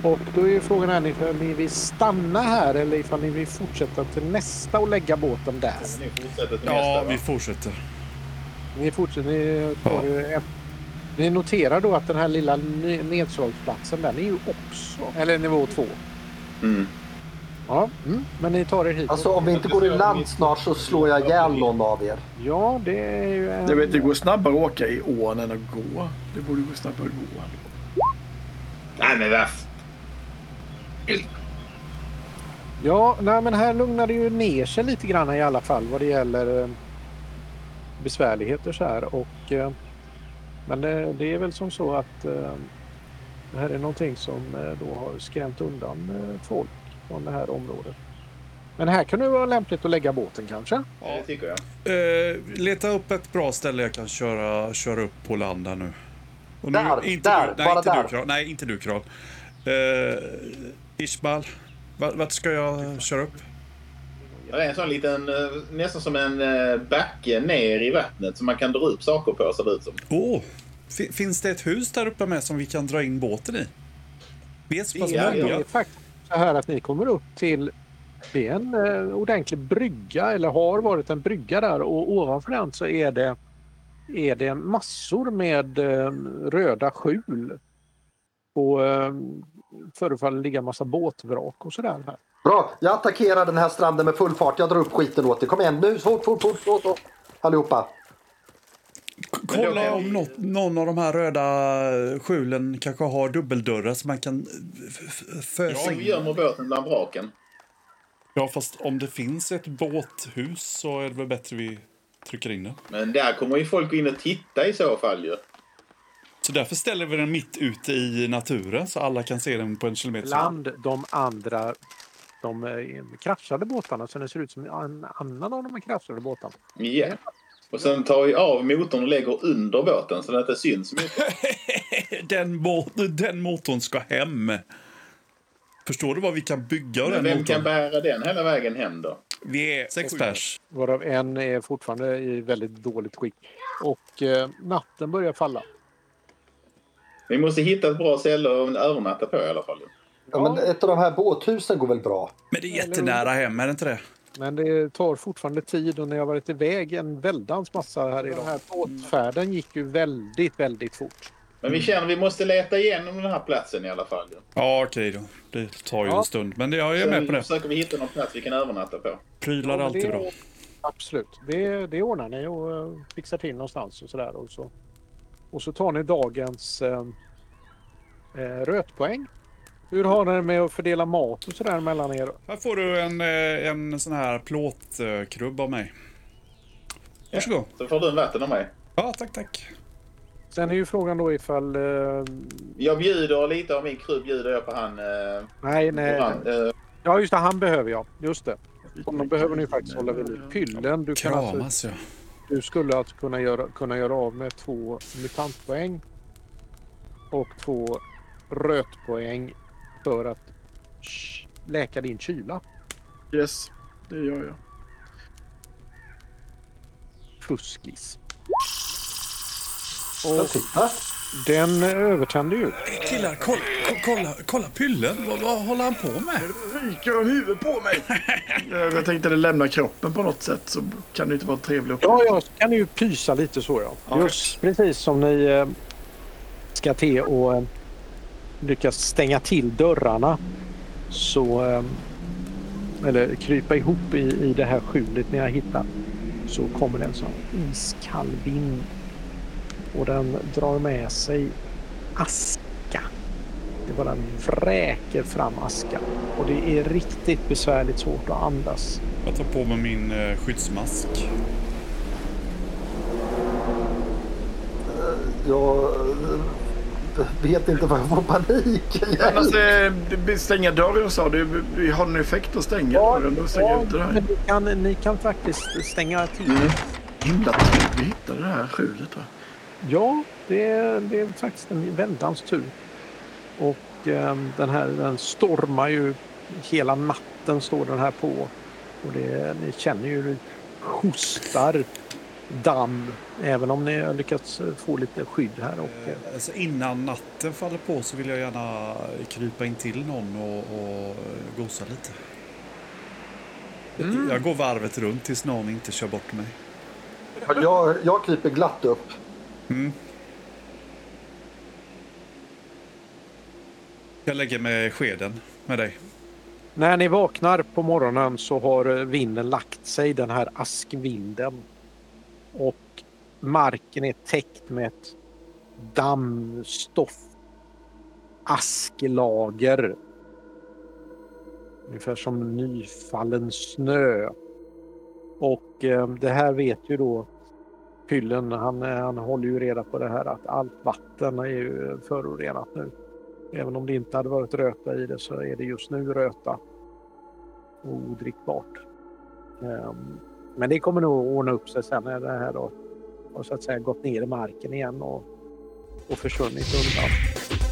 Och då är ju frågan här ifall ni vill stanna här eller ifall ni vill fortsätta till nästa och lägga båten där.
Nu fortsätter till
Ja,
nästa
vi
va?
fortsätter.
Ni fortsätter. Ni, tar, ju en, ni noterar då att den här lilla ne- nedslagsplatsen den är ju också... Eller nivå två.
Mm.
Ja, mm. men ni tar er hit.
Alltså om vi inte går i land snart så slår jag ihjäl någon av er.
ja, det är ju en...
Jag vet, det går snabbare att åka i ån än att gå. Det borde gå snabbare att gå.
Nej, men vad...
Ja, nej, men här lugnar det ju ner sig lite grann i alla fall vad det gäller eh, besvärligheter så här. Och, eh, men det, det är väl som så att eh, det här är någonting som eh, då har skrämt undan eh, folk från det här området. Men här kan det vara lämpligt att lägga båten kanske?
Ja, det tycker jag.
Eh, leta upp ett bra ställe jag kan köra, köra upp på land här nu. Och nu
Där,
inte
där,
du, nej,
bara
inte
där.
Du, Kral, nej, inte du Kral. Eh, Ismail, vart, vart ska jag köra upp?
Det är en sån liten, eh, nästan som en eh, backe ner i vattnet som man kan dra upp saker på ser det ut som.
Åh, fi- finns det ett hus där uppe med som vi kan dra in båten i? Vi är så pass
Ja,
Det
många.
är faktiskt så här att ni kommer upp till det är en eh, ordentlig brygga eller har varit en brygga där och ovanför den så är det, är det massor med eh, röda skjul. Och eh, förefaller ligga massa båtvrak och sådär. Här.
Bra, jag attackerar den här stranden med full fart. Jag drar upp skiten åt er. Kom igen nu, fort, fort, fort, fort, fort. Allihopa.
Men då
Kolla
kan
om
vi-
något, någon av de här röda skjulen kanske har dubbeldörrar som man kan f- f-
Ja,
fösa
vi
in.
gömmer båten bland vraken.
Ja, fast om det finns ett båthus så är det väl bättre vi trycker in den.
Men där kommer ju folk in och titta i så fall ju.
Så därför ställer vi den mitt ute i naturen så alla kan se den på en kilometer.
Bland de andra de eh, kraschade båtarna så det ser ut som en annan av de här kraschade båtarna.
Ja. Och sen tar vi av motorn och lägger under båten så det inte syns mycket.
Den, mo- den motorn ska hem. Förstår du vad vi kan bygga av
Men
den
vem
motorn?
kan bära den hela vägen hem då?
Vi är sex pers.
Varav en är fortfarande i väldigt dåligt skick. Och eh, natten börjar falla.
Vi måste hitta ett bra ställe att övernatta på i alla fall. ju.
Ja, men
Ja.
ett av de här båthusen går väl bra?
Men det är jättenära hem, är det inte det?
Men det tar fortfarande tid och ni har varit iväg en väldans massa här idag. Den här båtfärden gick ju väldigt, väldigt fort.
Mm.
Men vi känner att vi måste leta igenom den här platsen i alla fall. ju.
Ja, okej då. Det tar ju
Ja.
en stund. Men det, jag är med
Sen
på det.
försöker vi hitta någon plats vi kan övernatta på.
Prylar
Ja, men
är
det-
alltid bra.
Absolut, det, det ordnar ni och eh, fixar till någonstans och sådär. Och så, och så tar ni dagens eh, eh, rötpoäng Hur har ni det med att fördela mat och sådär mellan er?
Här får du en, eh, en sån här plåtkrubb av mig. Varsågod.
Så får du en vatten av mig.
Ja, tack, tack.
Sen är ju frågan då ifall... Eh,
Jag bjuder lite av min krubb bjuder jag på han... Eh,
nej, nej.
han eh,
Ja, just det. Han behöver jag. Just det. Honom behöver ni faktiskt hålla vid liv. Pyllen. Du, kan alltså,
Kramas ja.
du skulle alltså kunna göra, kunna göra av med två mutantpoäng och två rötpoäng för att sh- läka din kyla.
Yes, det gör jag.
Fuskis.
Så
Och
titta.
den övertände ju.
Killar, kolla, ko- kolla, kolla pyllen. Vad, vad håller han på med?
Ryker om huvudet på
[laughs]
mig! Eh, jag jag tänkte att det lämnar kroppen på något sätt så kan det inte vara en trevlig
Ja,
upplevelse.
jag kan ju pysa lite så ja.
Ja.
Just precis som ni eh, ska till och eh, lyckas stänga till dörrarna så eh, eller krypa ihop i, i det här skjulet ni har hittat så kommer det en sån iskall vind och den drar med sig aska. Det bara vräker fram aska och det är riktigt besvärligt svårt att andas.
Jag tar på mig min eh, skyddsmask.
Jag eh, vet inte vad jag får panik.
Annars eh, det- stänga dörren sa du. Vi har en effekt att stänga dörren och stänga ut det Mm.
men
där.
ni, kan, ni kan faktiskt stänga till.
Himla tur vi hittade det här skjulet. Va?
Ja, det är, det är faktiskt en väldans tur. Och ehm, den här den stormar ju hela natten står den här på. Och det, ni känner ju hur det hostar damm. Även om ni har lyckats få lite skydd här. Och, eh,
Eh, Alltså innan natten faller på så vill jag gärna krypa in till någon och, och eh, gosa lite. Jag går varvet runt tills någon inte kör bort mig.
Jag, jag kryper glatt upp.
Jag lägger mig i skeden med dig.
När ni vaknar på morgonen så har eh, vinden lagt sig, den här askvinden. Och marken är täckt med ett dammstoff. Asklager. Ungefär som nyfallen snö. Och eh, det här vet ju då Pyllen, han, eh, han håller ju reda på det här att allt vatten är ju förorenat nu. Även om det inte hade varit röta i det så är det just nu röta. Och odrickbart. Ehm, Men det kommer nog ordna upp sig sen när det här då har så att säga gått ner i marken igen och, och försvunnit undan.